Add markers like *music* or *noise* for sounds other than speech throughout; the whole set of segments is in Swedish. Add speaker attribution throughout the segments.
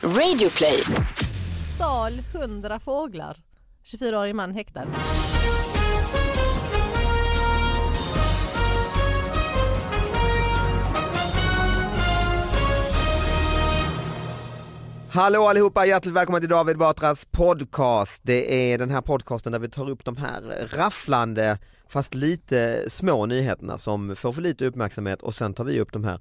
Speaker 1: Radioplay.
Speaker 2: Stal 100 fåglar. 24-årig man häktad.
Speaker 3: Hallå allihopa, hjärtligt välkomna till David Batras podcast. Det är den här podcasten där vi tar upp de här rafflande fast lite små nyheterna som får för lite uppmärksamhet och sen tar vi upp de här.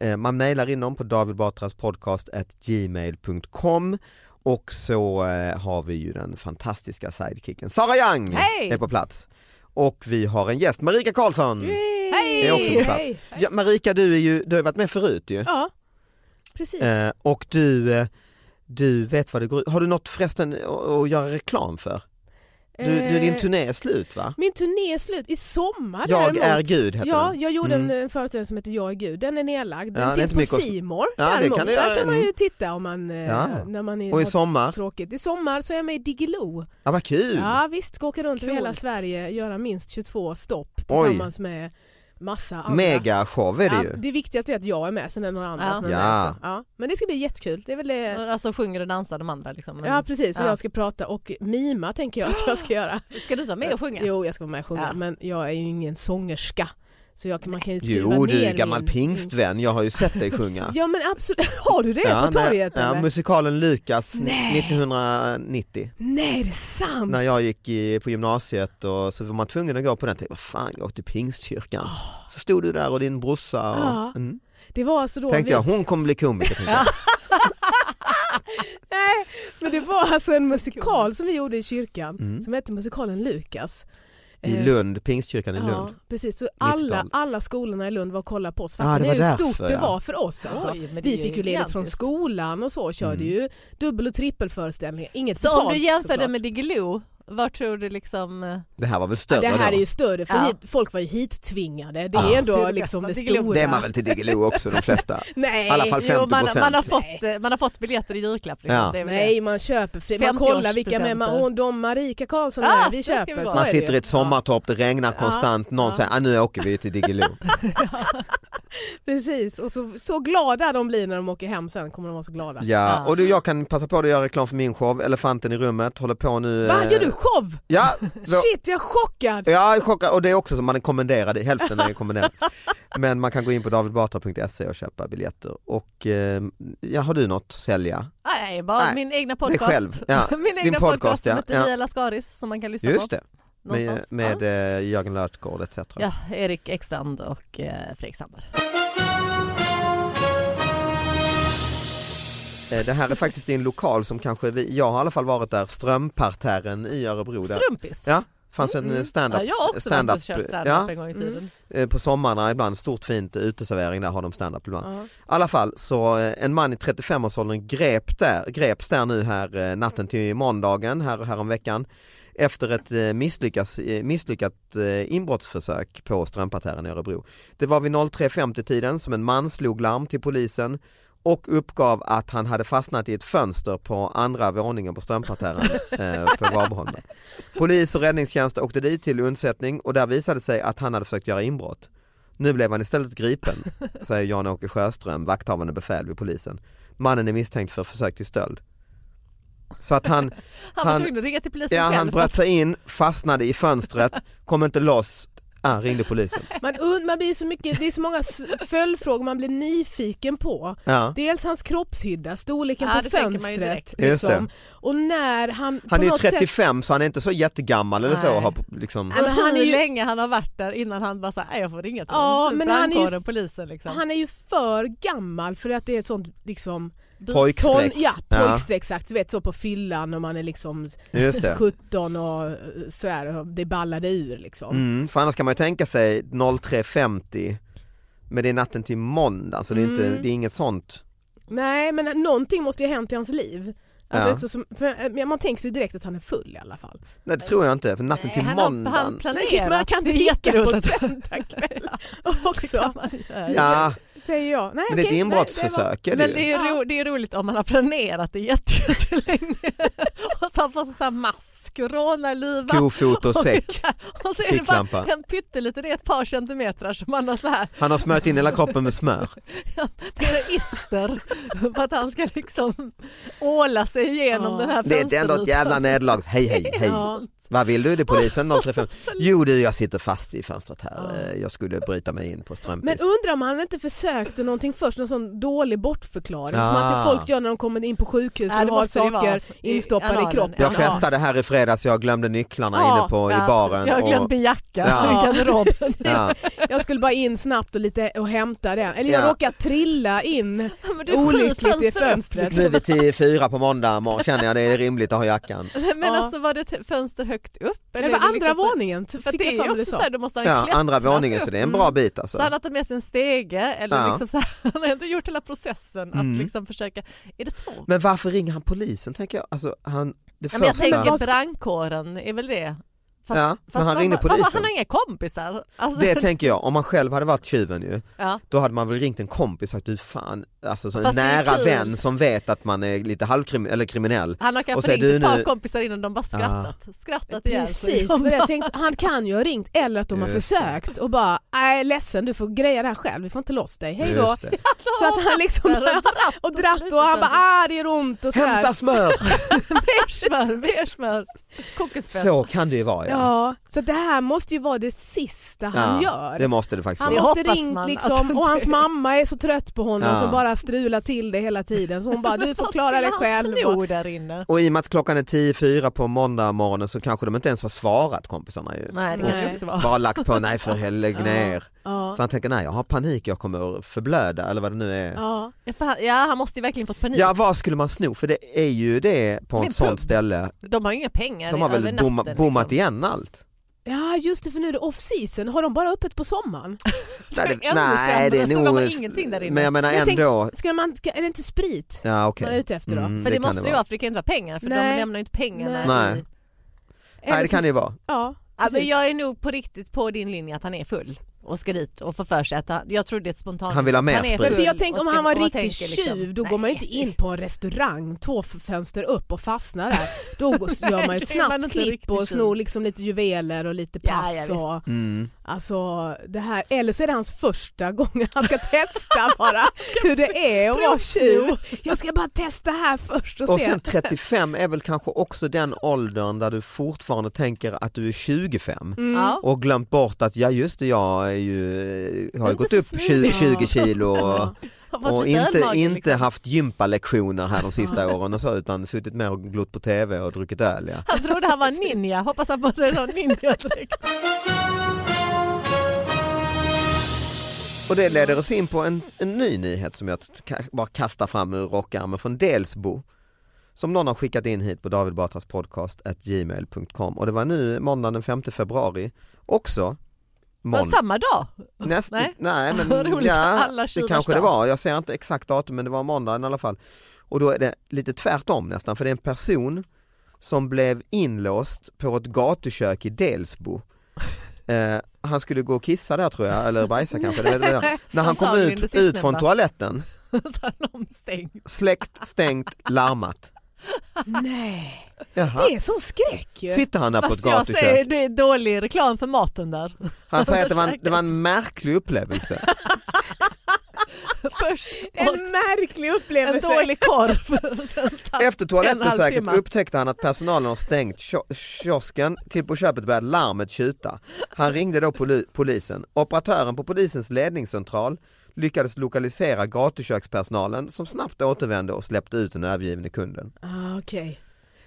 Speaker 3: Eh, Man mejlar in dem på davidbatraspodcast.gmail.com och så eh, har vi ju den fantastiska sidekicken Sara Young
Speaker 2: Hej!
Speaker 3: är på plats. Och vi har en gäst, Marika Karlsson
Speaker 2: Hej!
Speaker 3: är också på plats. Ja, Marika, du, är ju, du har ju varit med förut ju.
Speaker 2: Ja, precis.
Speaker 3: Eh, och du, eh, du vet vad det går ut Har du något förresten att- att göra reklam för? Du, du, din
Speaker 4: Eh,
Speaker 3: turné är slut va?
Speaker 4: Min turné är slut i sommar
Speaker 3: Jag
Speaker 4: däremot.
Speaker 3: är gud heter
Speaker 4: Ja,
Speaker 3: den.
Speaker 4: jag gjorde en,
Speaker 3: Mm.
Speaker 4: en föreställning som heter Jag är gud. Den är nedlagd. Den
Speaker 3: Ja, det är inte mycket
Speaker 4: finns på
Speaker 3: att-
Speaker 4: Simor
Speaker 3: Ja, det kan
Speaker 4: däremot.
Speaker 3: du göra.
Speaker 4: Där kan man
Speaker 3: Mm.
Speaker 4: ju titta om man, eh,
Speaker 3: Ja.
Speaker 4: när man är,
Speaker 3: Och i
Speaker 4: har
Speaker 3: sommar?
Speaker 4: tråkigt. I sommar så är jag med i Diggiloo.
Speaker 3: Ja vad kul!
Speaker 4: Ja visst, ska åka runt över hela
Speaker 2: Coolt.
Speaker 4: Sverige, göra minst 22 stopp tillsammans med massa andra.
Speaker 3: Mega show är det
Speaker 4: ja,
Speaker 3: ju.
Speaker 4: det viktigaste är att jag är med, sen är det några andra
Speaker 2: Ja.
Speaker 4: som är
Speaker 3: Ja.
Speaker 4: med också. Ja, Men det ska bli jättekul. Det är väl det.
Speaker 2: Alltså sjunger och dansar de andra liksom. Men-
Speaker 4: Ja precis, och
Speaker 2: Ja.
Speaker 4: jag ska prata och mima tänker jag att jag ska göra.
Speaker 2: Ska du vara med och sjunga?
Speaker 4: Jo, jag ska vara med och sjunga,
Speaker 2: Ja.
Speaker 4: men jag är ju ingen sångerska. Så jag, kan- man kan ju skriva
Speaker 3: Jo
Speaker 4: ner
Speaker 3: du är gammal
Speaker 4: min...
Speaker 3: pingstvän, jag har ju sett dig sjunga.
Speaker 4: *laughs* Ja men absolut, har du det på
Speaker 3: när-
Speaker 4: torget
Speaker 3: ja,
Speaker 4: eller?
Speaker 3: musikalen Lukas ni-
Speaker 4: Nej.
Speaker 3: 1990
Speaker 4: Nej, det är sant!
Speaker 3: när jag gick i, på gymnasiet och så var man tvungen att gå på den, tänkte vad fan jag åkte till pingstkyrkan. Så stod du där och din brorsa och,
Speaker 4: Ah. Ja.
Speaker 3: mm.
Speaker 4: Det var alltså då...
Speaker 3: tänkte
Speaker 4: vi...
Speaker 3: jag hon kommer bli komiker. tänkte
Speaker 4: *laughs*
Speaker 3: jag.
Speaker 4: Nej, men det var alltså en musikal som vi gjorde i kyrkan som hette musikalen Lukas.
Speaker 3: Mm. I
Speaker 4: Eh,
Speaker 3: Lund, pingstkyrkan i
Speaker 4: Ja,
Speaker 3: Lund.
Speaker 4: precis. Så alla,
Speaker 3: 90-talet.
Speaker 4: alla skolorna i Lund var och kollade på oss.
Speaker 3: Ah,
Speaker 4: Fattar
Speaker 3: det
Speaker 4: ni
Speaker 3: var
Speaker 4: hur
Speaker 3: därför,
Speaker 4: stort det
Speaker 3: ja.
Speaker 4: var för oss alltså.
Speaker 2: Oj, men det är
Speaker 4: vi
Speaker 2: ju
Speaker 4: fick ju ledigt från
Speaker 2: gigantiskt.
Speaker 4: skolan och så körde
Speaker 3: Mm.
Speaker 4: ju dubbel och trippelföreställningar. Inget
Speaker 2: Så om
Speaker 4: betalt
Speaker 2: du jämförde
Speaker 4: såklart.
Speaker 2: med Diggiloo, vad tror du liksom... eh,
Speaker 3: Det här var väl större
Speaker 4: Det här
Speaker 3: då?
Speaker 4: är ju större, för
Speaker 2: Ja.
Speaker 4: hit, folk var ju hit-tvingade. Det är
Speaker 3: Ja.
Speaker 2: Det är
Speaker 4: ändå
Speaker 2: det
Speaker 4: liksom det
Speaker 2: bästa. Det glömde
Speaker 4: stora.
Speaker 3: Det är man väl till Diggiloo också de
Speaker 4: *laughs*
Speaker 3: flesta.
Speaker 4: Nej,
Speaker 3: I alla fall
Speaker 2: jo,
Speaker 3: 50
Speaker 2: man, man, har
Speaker 3: procent.
Speaker 2: fått, eh, man har fått biljetter i julklapp. Liksom.
Speaker 3: Ja.
Speaker 2: Det är väl
Speaker 4: nej man köper fri. Man
Speaker 2: 50-årspresenter.
Speaker 4: kollar vilka med man, och de Marika Karlsson
Speaker 2: Ja,
Speaker 4: med,
Speaker 2: det
Speaker 4: vi
Speaker 2: ska vi
Speaker 4: köper.
Speaker 2: vara.
Speaker 4: så
Speaker 3: Man
Speaker 4: är det ju.
Speaker 3: sitter i ett sommartopp, det regnar konstant, någon säger ah, nu åker vi till
Speaker 4: *laughs*
Speaker 3: Diggiloo.
Speaker 4: Precis, och så, så glada de blir när de åker hem sen kommer de vara så glada.
Speaker 3: Ja. Och du, jag kan passa på att göra reklam för min show, Elefanten i rummet, håller på nu.
Speaker 4: Va,
Speaker 3: eh,
Speaker 4: gör du show?
Speaker 3: Ja, vår-
Speaker 4: Shit, jag är chockad!
Speaker 3: ja chockad. och det är också som man är kommenderad, hälften är
Speaker 4: *laughs*
Speaker 3: kommenderad. Men man kan gå in på davidbatra.se och köpa biljetter. Och eh, ja, har du något att sälja?
Speaker 2: Nej, bara
Speaker 3: Nej,
Speaker 2: min egna
Speaker 3: är
Speaker 2: podcast.
Speaker 3: själv. Ja,
Speaker 2: *laughs* min
Speaker 3: din
Speaker 2: egna
Speaker 3: podcast,
Speaker 2: podcast,
Speaker 3: ja.
Speaker 2: som heter
Speaker 3: Ja.
Speaker 2: Mia Lascaris som man kan lyssna
Speaker 3: Just
Speaker 2: på.
Speaker 3: det, med,
Speaker 2: någonstans.
Speaker 3: med
Speaker 2: ja.
Speaker 3: eh, Jörgen Lötgård etc.
Speaker 2: Ja, Erik Ekstrand och eh, Fredrik Sander.
Speaker 3: Eh, Det här är faktiskt i en lokal som kanske, vi, jag har i alla fall varit där, Strömparterren i Örebro. Där.
Speaker 2: Strumpis.
Speaker 3: Ja, fanns en eh, stand-up.
Speaker 2: Mm, Ja, jag har också
Speaker 3: stand-up,
Speaker 2: faktiskt kört stand-up
Speaker 3: ja,
Speaker 2: en gång i tiden.
Speaker 3: eh, på sommarna ibland, stort fint uteservering där har de stand-up ibland. I alla fall så eh, en man i 35-årsåldern grep där, greps där nu här eh, natten till måndagen här, här om veckan efter ett eh, misslyckas, eh, misslyckat eh, inbrottsförsök på Strömpatären i Örebro. Det var vid 03.50-tiden som en man slog larm till polisen och uppgav att han hade fastnat i ett fönster på andra våningen på Strömpatären eh, på Varberholmen. Polis och räddningstjänst åkte dit till undsättning och där visade det sig att han hade försökt göra inbrott. Nu blev han
Speaker 2: *laughs*
Speaker 3: istället gripen, säger Jan-Åke Sjöström, vakthavande befäl vid polisen. Mannen är misstänkt för försök till stöld. Så att han,
Speaker 2: *laughs* Han var
Speaker 3: Han-
Speaker 2: tvungen att ringa till polisen
Speaker 3: ja, han
Speaker 2: själv.
Speaker 3: bröt sig in, fastnade i fönstret, kom inte loss, ah, ringde polisen.
Speaker 4: Man, und- man blir så mycket, det är så många s- följdfrågor man blir nyfiken på.
Speaker 3: Ja.
Speaker 4: Dels hans kroppshydda, storleken
Speaker 2: Ja,
Speaker 4: på
Speaker 2: det tänker man ju
Speaker 4: fönstret. liksom.
Speaker 2: direkt.
Speaker 3: Just det.
Speaker 4: Och när han
Speaker 3: Han
Speaker 4: på
Speaker 3: är ju
Speaker 4: något
Speaker 3: 35 så han är inte så jättegammal eller så.
Speaker 2: Nej.
Speaker 3: Har, liksom.
Speaker 4: Ja, men
Speaker 2: han
Speaker 4: han är
Speaker 2: hur
Speaker 4: ju-
Speaker 2: länge han har varit där innan han bara såhär, jag får ringa till
Speaker 4: Ja,
Speaker 2: honom. Typ
Speaker 4: men han är ju-
Speaker 2: brandkåren, polisen liksom.
Speaker 4: Han är ju för gammal för att det är ett sånt liksom
Speaker 3: Pojkstreck.
Speaker 4: ja,
Speaker 3: Ja.
Speaker 4: pojkstreck exakt, du vet så på fyllan och man är liksom
Speaker 3: Just det.
Speaker 4: 17 och eh, sådär, och det ballade ur liksom.
Speaker 3: Mm, för annars kan man ju tänka sig 03.50 men det är natten till måndag så det är,
Speaker 2: Mm.
Speaker 3: inte, det är inget sånt.
Speaker 4: Nej men någonting måste ju ha hänt i hans liv. Alltså,
Speaker 3: Ja.
Speaker 4: eftersom- för, men man tänker sig direkt att han är full i alla fall.
Speaker 3: Nej det tror jag inte, för natten till
Speaker 2: han,
Speaker 3: måndagen.
Speaker 2: har, han
Speaker 4: Nej, typ,
Speaker 2: planerat. *laughs*
Speaker 4: man kan inte
Speaker 2: Det är
Speaker 4: leka på
Speaker 2: jätteroligt.
Speaker 4: söndag
Speaker 3: *laughs*
Speaker 4: kväll också,
Speaker 2: Kan man göra.
Speaker 3: ja,
Speaker 4: säger jag. Nej,
Speaker 3: men det är ett
Speaker 4: okej,
Speaker 3: inbrottsförsök. är det
Speaker 2: Men
Speaker 3: ju.
Speaker 2: det är, ro, det är roligt om man har planerat det jätte- jättelänge. *laughs* och så har man fått en sån här mask, rånarluva.
Speaker 3: Kofot
Speaker 2: *laughs*
Speaker 3: och säck.
Speaker 2: Och så är det
Speaker 3: Ficklampa.
Speaker 2: bara en pytteliten, det är ett par centimeter som man har så här,
Speaker 3: Han har smört in hela kroppen med smör.
Speaker 2: det är ister *laughs* för att han ska liksom åla sig igenom
Speaker 4: Ja.
Speaker 2: den här
Speaker 3: Det är ändå
Speaker 2: *laughs*
Speaker 3: ett jävla nederlag. Hej hej hej. Vad vill du? Det är polisen 035. Jo du jag sitter fast i fönstret här. Eh, Jag skulle bryta mig in på
Speaker 4: Men
Speaker 3: Strömpis.
Speaker 4: undrar om han inte försökte någonting först, någon sån dålig bortförklaring som
Speaker 3: Ah.
Speaker 4: alltid folk gör när de kommer in på sjukhus
Speaker 2: Ja, det
Speaker 4: och har
Speaker 2: måste det vara.
Speaker 4: saker
Speaker 2: I
Speaker 4: instoppade i
Speaker 2: analen.
Speaker 4: kroppen.
Speaker 3: Jag
Speaker 2: Ja.
Speaker 3: festade här i fredags, jag glömde nycklarna
Speaker 4: Ja,
Speaker 3: inne på, i baren.
Speaker 2: Jag har glömt *laughs*
Speaker 3: och-
Speaker 2: min jacka
Speaker 3: Ja.
Speaker 2: i
Speaker 4: *laughs*
Speaker 2: garderoben.
Speaker 3: ja.
Speaker 4: Jag skulle bara in snabbt och, lite, och hämta den, eller jag
Speaker 3: Ja.
Speaker 4: råkade trilla in
Speaker 2: Men du är sju
Speaker 4: olyckligt i
Speaker 2: fönster upp.
Speaker 4: fönstret.
Speaker 3: Nu är vi till fyra på måndag morgon känner jag det är rimligt att
Speaker 2: *laughs*
Speaker 3: ha jackan.
Speaker 2: Men
Speaker 4: Ja.
Speaker 2: alltså var det ett fönster högt upp?
Speaker 4: Det var
Speaker 2: är det
Speaker 4: andra
Speaker 2: liksom-
Speaker 4: våningen,
Speaker 2: För att
Speaker 4: fick
Speaker 2: det är
Speaker 4: jag liksom-
Speaker 2: ju också så
Speaker 4: för mig du sa.
Speaker 2: här, då måste han
Speaker 3: Ja,
Speaker 2: klättra
Speaker 3: andra våningen
Speaker 2: upp.
Speaker 3: så det är en bra bit alltså.
Speaker 2: Så han har tagit med sig en stege eller
Speaker 3: Ja.
Speaker 2: liksom så här, *laughs* han har inte gjort hela processen att
Speaker 4: Mm.
Speaker 2: liksom försöka. Är det två?
Speaker 3: Men varför ringer han polisen tänker jag? Alltså, han, det
Speaker 2: Ja,
Speaker 3: första...
Speaker 2: men jag tänker
Speaker 4: vad-
Speaker 2: brandkåren är väl det? Fast,
Speaker 3: Ja, men han
Speaker 2: vad-
Speaker 3: ringde
Speaker 2: vad- vad-
Speaker 3: polisen.
Speaker 2: Han har inga kompisar. Alltså,
Speaker 3: Det tänker jag, om man själv hade varit tjuven ju,
Speaker 2: *laughs* ja.
Speaker 3: då hade man väl ringt en kompis och sagt du fan, alltså så en
Speaker 2: Fast det är
Speaker 3: nära
Speaker 2: kul.
Speaker 3: vän som vet att man är lite halvkriminell eller kriminell.
Speaker 2: Han har
Speaker 3: Och
Speaker 2: kanske
Speaker 3: säger,
Speaker 2: ringt
Speaker 3: "Du,
Speaker 2: ett par
Speaker 3: nu-" Ah.
Speaker 2: kompisar innan de bara skrattat. Skrattat ihjäl sig.
Speaker 4: Precis, men
Speaker 2: *laughs*
Speaker 4: jag tänkte, han kan ju ha ringt eller att de har
Speaker 3: Just
Speaker 4: försökt och bara nej ledsen du får greja det här själv, vi får inte loss dig, hej då.
Speaker 3: Just det.
Speaker 4: Så att han liksom
Speaker 2: Där har dratt
Speaker 4: *laughs* och dratt och han bara ah det gör ont och sådär.
Speaker 2: *laughs*
Speaker 3: Hämta smör!
Speaker 2: Mer smör, mer smör. Kokosfett.
Speaker 3: Så kan det ju vara ja.
Speaker 4: Ja, så det här måste ju vara det sista han gör.
Speaker 3: Det måste det faktiskt
Speaker 4: han
Speaker 2: Det
Speaker 3: vara.
Speaker 4: måste
Speaker 2: hoppas
Speaker 4: ringt
Speaker 2: man att
Speaker 4: liksom
Speaker 2: det-
Speaker 4: och hans mamma är så trött på honom
Speaker 3: Ja.
Speaker 4: som bara strular till det hela tiden så hon bara du får
Speaker 2: Vad
Speaker 4: klara
Speaker 2: skulle
Speaker 4: dig
Speaker 2: *laughs* han
Speaker 4: själv.
Speaker 2: sno där inne.
Speaker 3: Och i och med att klockan är 10.04 på måndag morgonen så kanske de inte ens har svarat kompisarna ju.
Speaker 2: Nej, det kan
Speaker 4: Nej.
Speaker 2: det också vara.
Speaker 3: Bara lagt på nej för helg ner.
Speaker 4: Ja.
Speaker 3: Så han tänker nej jag har panik, jag kommer förblöda eller vad det nu är.
Speaker 4: Ja.
Speaker 2: Fan, Ja, han måste ju verkligen fått panik.
Speaker 3: Ja vad skulle man sno? För det är ju det på
Speaker 2: Men
Speaker 3: ett sånt
Speaker 2: pub.
Speaker 3: ställe.
Speaker 2: De har ju inga pengar
Speaker 3: De har
Speaker 2: över
Speaker 3: väl
Speaker 2: natten,
Speaker 3: bomma, bommat
Speaker 2: liksom.
Speaker 3: igen allt?
Speaker 2: *laughs*
Speaker 4: ja just det för nu är det off season, har de bara öppet på sommaren?
Speaker 2: är
Speaker 3: Nej, det,
Speaker 2: ännu
Speaker 3: nej,
Speaker 2: sämre,
Speaker 3: det
Speaker 2: så
Speaker 3: är
Speaker 2: alltså, de har
Speaker 3: nog...
Speaker 2: ingenting där inne.
Speaker 3: Men jag menar
Speaker 4: Men tänk-
Speaker 3: ändå.
Speaker 4: Ska man, ska, är det inte sprit
Speaker 3: Ja okej.
Speaker 4: man är ute efter då?
Speaker 3: Mm,
Speaker 2: För det,
Speaker 3: kan
Speaker 2: måste det vara, för det kan ju inte vara pengar för
Speaker 4: Nej.
Speaker 2: de lämnar ju inte pengarna.
Speaker 4: Nej.
Speaker 2: i-
Speaker 3: Nej. Nej
Speaker 4: Eller
Speaker 3: det
Speaker 2: Alltså,
Speaker 4: så-
Speaker 3: kan det ju vara.
Speaker 4: Ja,
Speaker 2: Ja, men
Speaker 4: precis.
Speaker 2: jag är nog på riktigt på din linje att han är full och ska dit och får för sig att han, jag tror det är ett spontant.
Speaker 3: Han vill ha mer
Speaker 2: Han är
Speaker 3: sprit.
Speaker 2: full
Speaker 4: Men för jag
Speaker 2: och
Speaker 4: tänker om
Speaker 2: ska-
Speaker 4: han var
Speaker 2: och man
Speaker 4: riktig
Speaker 2: tänker liksom,
Speaker 4: tjuv då
Speaker 2: nej.
Speaker 4: går man ju inte in på en restaurang två f- fönster upp och fastnar där. Då
Speaker 2: *laughs*
Speaker 4: går- gör man ju ett
Speaker 2: Det är man
Speaker 4: snabbt
Speaker 2: inte
Speaker 4: klipp
Speaker 2: riktig
Speaker 4: och
Speaker 2: tjuv.
Speaker 4: snor liksom lite juveler och lite
Speaker 2: Ja,
Speaker 4: pass.
Speaker 2: ja, visst.
Speaker 4: och,
Speaker 3: Mm.
Speaker 4: alltså, det här, eller så är det hans första gång han ska testa *laughs* bara hur det är att vara tjuv. Jag ska bara testa här först och,
Speaker 3: Och
Speaker 4: se.
Speaker 3: sen 35 är väl kanske också den åldern där du fortfarande tänker att du är 25
Speaker 2: Mm. Ja.
Speaker 3: och glömt bort att ja just det jag är ju, har ju
Speaker 2: Inte
Speaker 3: gått
Speaker 2: så
Speaker 3: upp
Speaker 2: smidig.
Speaker 3: 20,
Speaker 2: *laughs*
Speaker 3: 20 kilo och,
Speaker 2: Har fått
Speaker 3: och
Speaker 2: lite
Speaker 3: inte,
Speaker 2: ölmage,
Speaker 3: inte
Speaker 2: liksom.
Speaker 3: haft gympalektioner här de
Speaker 2: *laughs*
Speaker 3: sista åren och så utan suttit mer och glott på tv och druckit öl. Ja.
Speaker 2: *laughs* Han trodde han var en ninja, hoppas han på sig en sån ninja-dräkt.
Speaker 3: Och det leder oss in på en, en ny nyhet som jag ka- bara kastar fram ur rockärmen från Delsbo. Som någon har skickat in hit på David Batras podcast at gmail.com och det var nu måndagen den 5 februari också.
Speaker 2: Var
Speaker 3: Månd-
Speaker 2: samma dag? *laughs*
Speaker 3: *laughs* Näst, nej.
Speaker 2: Nej. *laughs*
Speaker 3: men
Speaker 2: Vad roligt,
Speaker 3: ja,
Speaker 2: alla
Speaker 3: det
Speaker 2: tjuvars
Speaker 3: kanske det
Speaker 2: dag.
Speaker 3: var. Jag ser inte exakt datum men det var måndagen i alla fall. Och då är det lite tvärtom nästan för det är en person som blev inlåst på ett gatukök
Speaker 2: *laughs*
Speaker 3: i Delsbo. Eh, han skulle gå och kissa där tror jag, eller bajsa kanske. Det vet
Speaker 2: *laughs*
Speaker 3: jag. inte. När han kom
Speaker 2: Antagligen det
Speaker 3: ut,
Speaker 2: sistnämnda.
Speaker 3: ut från toaletten,
Speaker 2: Så har de stängt.
Speaker 3: släckt, stängt,
Speaker 2: *laughs*
Speaker 3: larmat.
Speaker 4: Nej,
Speaker 3: Jaha.
Speaker 4: det är sån skräck ju.
Speaker 3: Sitter han där på ett
Speaker 2: Fast jag säger
Speaker 3: gatukök.
Speaker 2: det är dålig reklam för maten där. *laughs*
Speaker 3: Han säger att det var, en,
Speaker 2: Ursäkta.
Speaker 3: det var en märklig upplevelse.
Speaker 2: Först åt
Speaker 4: En märklig
Speaker 2: en
Speaker 4: upplevelse.
Speaker 2: dålig korv. Sen satt en
Speaker 3: *laughs* Efter
Speaker 2: och en
Speaker 3: toaletten
Speaker 2: halv timme.
Speaker 3: säkert upptäckte han att personalen har stängt kio- kiosken. Till på köpet började larmet tjuta. Han ringde då poli- polisen. Operatören på polisens ledningscentral lyckades lokalisera gatukökspersonalen som snabbt återvände och släppte ut den övergivne kunden.
Speaker 4: Ah, okej.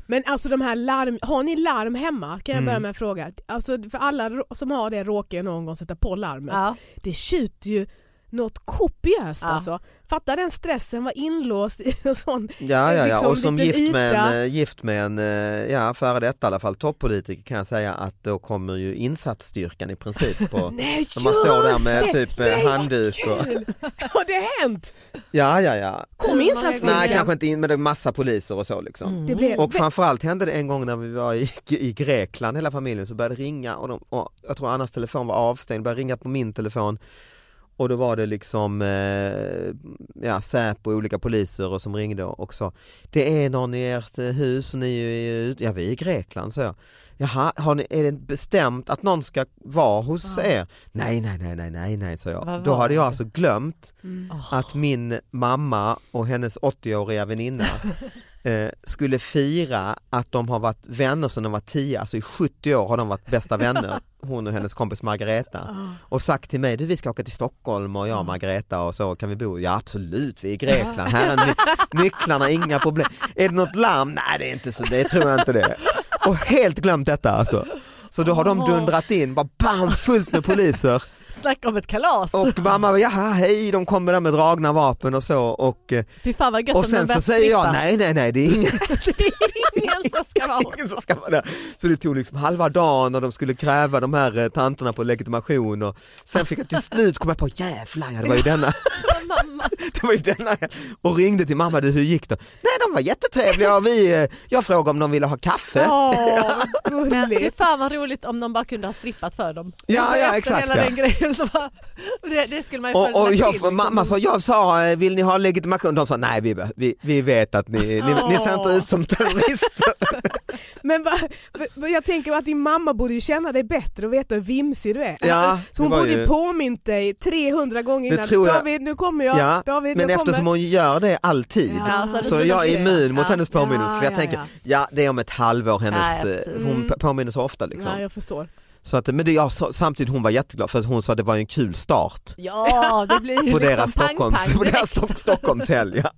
Speaker 4: Men alltså de här larm, har ni larm hemma?
Speaker 3: Mm.
Speaker 4: Kan jag börja med en fråga. Alltså, för alla rå- som har det råkar ju någon gång sätta på larmet.
Speaker 2: *laughs* Ja.
Speaker 4: Det tjuter ju något kopiöst
Speaker 2: Ja.
Speaker 4: alltså. Fatta den stressen, var inlåst i en sån.
Speaker 3: Ja, ja, ja.
Speaker 4: Liksom
Speaker 3: och som
Speaker 4: liten
Speaker 3: gift med, en,
Speaker 4: yta.
Speaker 3: eh, gift med en, eh, ja, före detta i alla fall, toppolitiker kan jag säga att då kommer ju insatsstyrkan i princip på
Speaker 4: *laughs* Nej Eh, just
Speaker 3: när man står där
Speaker 4: det!
Speaker 3: med typ
Speaker 4: Nej,
Speaker 3: eh,
Speaker 4: vad
Speaker 3: handduk och
Speaker 4: kul! Har det hänt?
Speaker 3: ja, ja, ja.
Speaker 4: Kom insatsstyrkan.
Speaker 3: Nej, kanske inte in, men det är massa poliser och så liksom.
Speaker 4: Det blev...
Speaker 3: Och framförallt hände det en gång när vi var i, i Grekland hela familjen så började det ringa och, de, och jag tror Annas telefon var avstängd, började ringa på min telefon och då var det liksom eh, ja, Säpo och olika poliser och som ringde och sa det är någon i ert eh, hus och ni är ju ute, ja vi är i Grekland sa jag. Jaha, har ni, är det bestämt att någon ska vara hos er? Nej, nej, nej, nej, nej, nej, sa
Speaker 2: Vad
Speaker 3: jag. Då
Speaker 2: var
Speaker 3: hade jag
Speaker 2: det? Mm.
Speaker 3: alltså glömt att min mamma och hennes 80-åriga väninna eh, skulle fira att de har varit vänner sedan de var 10, alltså i 70 år har de varit bästa vänner, hon och hennes kompis Margareta. Och sagt till mig, du vi ska åka till Stockholm och jag och Margareta och så, kan vi bo? Ja absolut, vi är i Grekland, här är ny- nycklarna, inga problem. Är det något larm? Nej det är inte så, det tror jag inte det. Och helt glömt detta alltså. Så då har de dundrat in, bara bam, fullt med poliser.
Speaker 2: Snacka om ett kalas.
Speaker 3: Och mamma, jaha hej, de kommer där med dragna vapen och så. Och, eh,
Speaker 2: Fy fan vad gött
Speaker 3: och
Speaker 2: om de
Speaker 3: sen så
Speaker 2: börjar
Speaker 3: säger jag,
Speaker 2: strippa.
Speaker 4: *laughs*
Speaker 3: nej nej nej, det är ingen
Speaker 2: Det är ingen som ska
Speaker 3: *laughs*
Speaker 2: vara
Speaker 3: Ingen som ska vara där. Så det tog liksom halva dagen och de skulle kräva de här eh, tanterna på legitimation och sen fick jag till slut komma på jävlar ja, det var ju denna.
Speaker 2: mamma.
Speaker 3: *laughs* Det var ju denna. Och ringde till mamma, du hur gick det? Nej de var jättetrevliga och vi, eh, jag frågade om de ville ha kaffe.
Speaker 4: Åh, vad
Speaker 2: Men fy
Speaker 4: gulligt.
Speaker 2: fan vad roligt om de bara kunde ha strippat för dem.
Speaker 3: Ja,
Speaker 2: Alltså,
Speaker 3: ja,
Speaker 2: efter
Speaker 3: exakt,
Speaker 2: Hela
Speaker 3: ja.
Speaker 2: den grejen, så bara, *laughs* det, det skulle man ju följa
Speaker 3: Och, och
Speaker 2: till,
Speaker 3: jag,
Speaker 2: liksom.
Speaker 3: mamma sa, jag sa, eh, vill ni ha legitimation? De sa, nej vi, vi, vi vet att ni, ni, ni ser inte ut som terrorister.
Speaker 4: Men va, va- va, jag tänker att din mamma borde ju känna dig bättre och veta hur vimsig du är. Alltså,
Speaker 3: Ja,
Speaker 4: så hon
Speaker 3: det var
Speaker 4: borde
Speaker 3: ju-
Speaker 4: ju påmint dig 300 gånger
Speaker 3: Det
Speaker 4: innan.
Speaker 3: tror jag.
Speaker 4: David nu kommer jag.
Speaker 3: Ja,
Speaker 4: David,
Speaker 3: men
Speaker 4: jag
Speaker 3: eftersom
Speaker 4: kommer.
Speaker 3: hon gör det alltid
Speaker 2: Ja, så har du
Speaker 3: Så
Speaker 2: suttit
Speaker 3: jag är
Speaker 2: still.
Speaker 3: immun mot
Speaker 2: Ja.
Speaker 3: hennes påminnelse
Speaker 4: Ja,
Speaker 3: för jag
Speaker 4: ja,
Speaker 3: tänker,
Speaker 4: ja.
Speaker 3: ja. det är om ett halvår hennes,
Speaker 2: Ja, ja,
Speaker 3: eh,
Speaker 2: precis.
Speaker 3: hon p- påminner så ofta liksom.
Speaker 4: Ja, jag förstår.
Speaker 3: så att, men det, jag, sa- samtidigt hon var jätteglad för att hon sa att det var ju en kul start
Speaker 2: Ja, det blir ju
Speaker 3: på
Speaker 2: liksom
Speaker 3: deras, Stockholms,
Speaker 2: pang, pang
Speaker 3: på deras
Speaker 2: direkt.
Speaker 3: Stock, Stockholmshelg. Ja.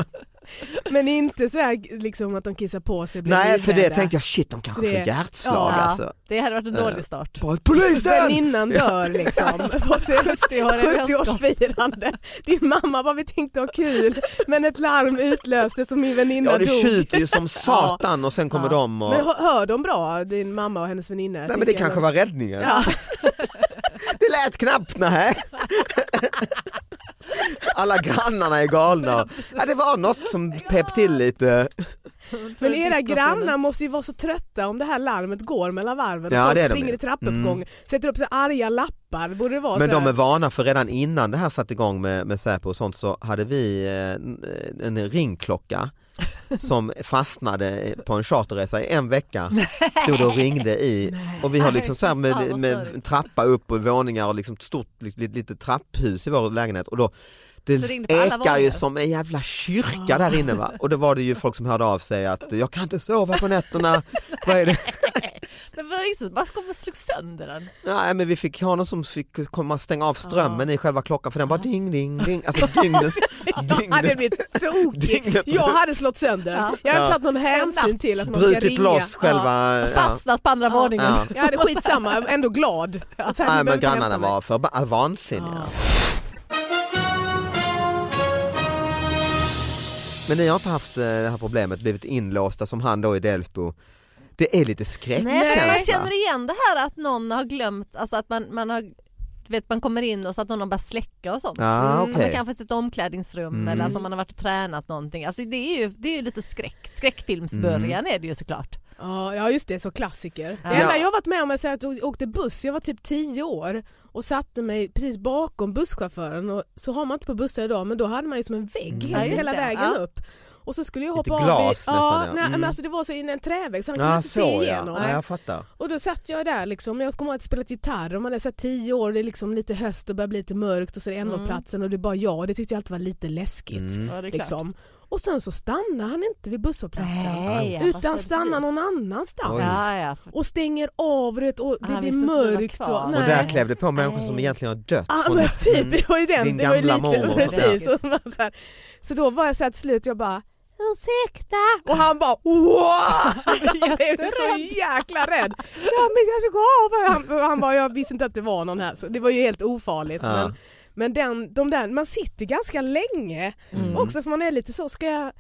Speaker 4: Men inte sådär liksom att de kissar på sig och blir
Speaker 3: Nej för det
Speaker 4: livrädda.
Speaker 3: tänkte jag, shit de kanske
Speaker 4: Det-
Speaker 3: får hjärtslag
Speaker 4: Ja.
Speaker 3: alltså.
Speaker 2: Det hade varit en
Speaker 3: Eh,
Speaker 2: dålig start.
Speaker 3: Bara, Polisen!
Speaker 4: Väninnan dör
Speaker 3: *laughs*
Speaker 4: liksom på
Speaker 2: Det var det jag ska.
Speaker 4: 70-årsfirande. Din mamma bara vi tänkte ha kul men ett larm utlöstes och min väninna
Speaker 3: Ja det
Speaker 4: dog.
Speaker 3: tjuter ju som satan och sen kommer de och...
Speaker 4: Men hör, hör de bra din mamma och hennes väninna?
Speaker 3: Nej men det
Speaker 4: Tänker jag.
Speaker 3: kanske var räddningen.
Speaker 4: Ja.
Speaker 3: *laughs* Det lät knappt
Speaker 4: *laughs*
Speaker 3: nej. Alla grannarna är galna. Ja, det var något som pep till lite.
Speaker 4: Men
Speaker 2: För
Speaker 4: era
Speaker 2: diskmaskinen.
Speaker 4: grannar måste ju vara så trötta om det här larmet går mellan varven.
Speaker 3: Ja,
Speaker 4: Folk
Speaker 3: det är de
Speaker 4: springer
Speaker 3: ju. Mm.
Speaker 4: i trappuppgång, sätter upp så här arga lappar. Borde det vara
Speaker 3: Men
Speaker 4: så här?
Speaker 3: de är
Speaker 4: *laughs*
Speaker 3: vana för redan innan det här satte igång med, med Säpo och sånt så hade vi eh, en ringklocka
Speaker 2: *laughs*
Speaker 3: som fastnade på en charterresa i en vecka. Stod det och ringde i och vi har liksom så här
Speaker 2: Fan,
Speaker 3: med,
Speaker 2: vad
Speaker 3: med
Speaker 2: störigt.
Speaker 3: trappa upp och våningar och liksom ett stort litet, litet trapphus i vår lägenhet och då
Speaker 2: Så
Speaker 3: det
Speaker 2: ringde på alla
Speaker 3: ekar
Speaker 2: våningar.
Speaker 3: ju som en jävla kyrka där inne va och då var det ju folk som hörde av sig att jag kan inte sova på nätterna. Vad är det?
Speaker 2: *laughs* *laughs* Men var det inte så? Man kommer och slog sönder den.
Speaker 3: Nej men vi fick ha någon som fick komma och stänga av strömmen i själva klockan för den bara ding ding
Speaker 4: *laughs*
Speaker 3: ding. Alltså dygnet.
Speaker 4: Jag hade
Speaker 3: dygnet.
Speaker 4: blivit tokig.
Speaker 3: Dygnet.
Speaker 4: Jag hade slått sönder den. Jag hade
Speaker 3: Ja.
Speaker 4: tagit någon hänsyn till att man ska
Speaker 3: Brutit
Speaker 4: ringa.
Speaker 3: loss själva. Ja.
Speaker 2: Fastnat på andra våningen. *laughs*
Speaker 3: Ja.
Speaker 4: Jag hade skitsamma, jag var ändå glad. Och så här,
Speaker 3: Nej
Speaker 4: ni behöver
Speaker 3: men
Speaker 4: inte
Speaker 3: grannarna
Speaker 4: hämta mig.
Speaker 3: var för ba- vansinniga. Men ni har inte haft eh, det här problemet, blivit inlåsta som han då i Delsbo. Det är lite
Speaker 2: Nej,
Speaker 3: skräckkänsla.
Speaker 2: jag känner igen det här att någon har glömt, alltså att man, man har du vet man kommer in och så att någon har börjat släcka och sånt.
Speaker 3: Ja,
Speaker 2: Mm.
Speaker 3: okej. Mm.
Speaker 2: Man kanske sitter i ett omklädningsrum eller
Speaker 3: Mm.
Speaker 2: alltså man har varit och tränat någonting. Alltså det är ju, det är ju lite skräck. Skräckfilmsbörjan är det ju såklart.
Speaker 4: Ja, ja just det, så klassiker.
Speaker 2: Ja.
Speaker 4: Det enda
Speaker 3: Ja.
Speaker 4: jag varit med om är så att jag åkte buss, jag var typ 10 år och satte mig precis bakom busschauffören och så har man inte på bussar idag men då hade man ju som en
Speaker 3: Mm.
Speaker 4: vägg
Speaker 2: Ja, just
Speaker 4: hela
Speaker 2: det.
Speaker 4: vägen
Speaker 2: Ja.
Speaker 4: upp. Och så skulle jag
Speaker 3: Lite
Speaker 4: hoppa av
Speaker 3: glas
Speaker 4: i,
Speaker 3: nästan,
Speaker 4: ja,
Speaker 3: ja.
Speaker 4: Nej,
Speaker 3: Mm.
Speaker 4: men alltså det var så in i en trävägg så han kunde
Speaker 3: Ja,
Speaker 4: inte
Speaker 3: så
Speaker 4: se
Speaker 3: ja.
Speaker 4: igenom.
Speaker 3: ja, jag fattar.
Speaker 4: Och då satt jag där liksom, jag kommer ihåg att jag spelat gitarr och man är så här 10 år, det är liksom lite höst och börjar bli lite mörkt och så är det NO-platsen och det är bara jag och det tyckte jag alltid var lite läskigt.
Speaker 3: Mm.
Speaker 2: Mm. Ja, det är klart.
Speaker 4: Liksom. Och sen så stannar han inte vid busshållplatsen
Speaker 2: Nej, alltså, ja, vad
Speaker 4: utan
Speaker 2: kände
Speaker 4: stannar
Speaker 2: du?
Speaker 4: någon annanstans.
Speaker 3: Oj.
Speaker 2: Ja, ja.
Speaker 4: och stänger av du vet, och det
Speaker 2: Ah,
Speaker 4: blir
Speaker 2: visste inte vi var
Speaker 4: mörkt.
Speaker 2: kvar.
Speaker 4: Och,
Speaker 2: Och
Speaker 3: Och
Speaker 4: nej.
Speaker 3: där klävde på människor som
Speaker 2: Nej.
Speaker 3: egentligen har dött.
Speaker 4: Ja
Speaker 3: från-
Speaker 4: men typ, det var ju
Speaker 3: Din
Speaker 4: den. Det var ju
Speaker 3: gamla
Speaker 4: lite,
Speaker 3: mormor,
Speaker 4: precis.
Speaker 2: ja.
Speaker 4: Och man så, här. så då var jag så här till slut, jag bara ursäkta och han bara wow! Jag blev så jäkla rädd. Ja, men jag ska gå av. Han, och han bara, jag visste inte att det var någon här. Så det var ju helt ofarligt.
Speaker 3: Ja.
Speaker 4: Men, men den, de där, man sitter ganska länge
Speaker 3: Mm.
Speaker 4: också för man är lite så, ska jag,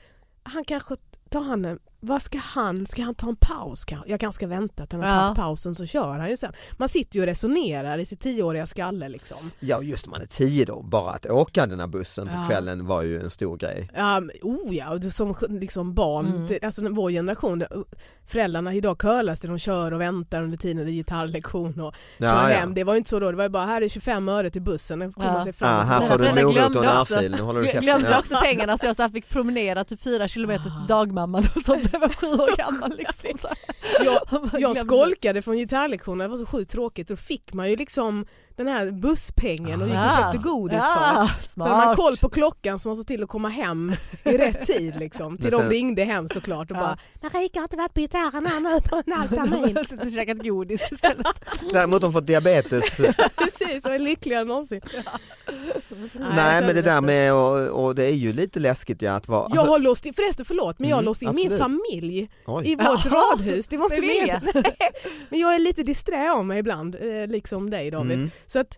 Speaker 4: han kanske, tar han en, vad ska han, ska han ta en paus kanske? Jag kanske ska vänta till han har
Speaker 2: Ja.
Speaker 4: tagit pausen så kör han ju sen. Man sitter ju och resonerar i sitt tioåriga skalle liksom.
Speaker 3: Ja just det, man är tio då, bara att åka den här bussen på
Speaker 4: Ja.
Speaker 3: kvällen var ju en stor grej.
Speaker 4: Ja, men, oh ja, och du som liksom barn,
Speaker 2: Mm.
Speaker 4: det, alltså vår generation, det- föräldrarna idag curlas det, de kör och väntar under tiden det är gitarrlektion och
Speaker 3: Ja,
Speaker 4: kör
Speaker 3: ja.
Speaker 4: hem. Det var ju inte så då, det var ju bara här är 25 öre till bussen, den tog
Speaker 2: Ja.
Speaker 4: man sig
Speaker 3: Ja,
Speaker 4: fram och
Speaker 3: här
Speaker 2: Men
Speaker 3: får du
Speaker 2: jag
Speaker 3: en morot
Speaker 2: glömde
Speaker 3: och en
Speaker 2: också.
Speaker 3: örfil, nu håller du
Speaker 2: Jag
Speaker 3: käften.
Speaker 2: glömde också pengarna så jag så här fick promenera typ fyra kilometer
Speaker 3: Ah.
Speaker 2: till dagmamman och sånt när jag var sju år gammal. Liksom.
Speaker 3: *laughs*
Speaker 2: Så här.
Speaker 4: Jag, jag
Speaker 2: glömde.
Speaker 4: skolkade från gitarrlektionerna, det var så sjukt tråkigt. Då fick man ju liksom den här busspengen och gick och köpte godis för.
Speaker 2: ja,
Speaker 4: Så hade man
Speaker 2: Ah. smart.
Speaker 4: koll på klockan så man såg till att komma hem i rätt tid.
Speaker 3: *laughs*
Speaker 4: Liksom. Till
Speaker 3: Men sen-
Speaker 4: de ringde hem såklart och
Speaker 2: Ja.
Speaker 4: bara “Marika har inte varit på gitarren här nu på en halv termin”.
Speaker 2: Jag *laughs* sitter och käkat godis istället.
Speaker 3: Däremot har de fått
Speaker 4: *laughs*
Speaker 3: diabetes.
Speaker 4: Precis, och är lyckligare än någonsin. Nej,
Speaker 3: Nej
Speaker 4: jag
Speaker 3: men det
Speaker 4: känner
Speaker 3: där
Speaker 4: så-
Speaker 3: med, och, och det är ju lite läskigt ja, att vara... alltså,
Speaker 4: Jag har låst in, förresten förlåt, men jag har
Speaker 3: Mm,
Speaker 4: låst in min
Speaker 3: absolut.
Speaker 4: familj
Speaker 3: oj.
Speaker 4: i vårt
Speaker 2: Jaha,
Speaker 4: radhus. Det var inte
Speaker 2: vem är
Speaker 4: meningen. *laughs* Nej, Men jag är lite disträ av mig ibland, eh, liksom dig David.
Speaker 3: Mm.
Speaker 4: Så att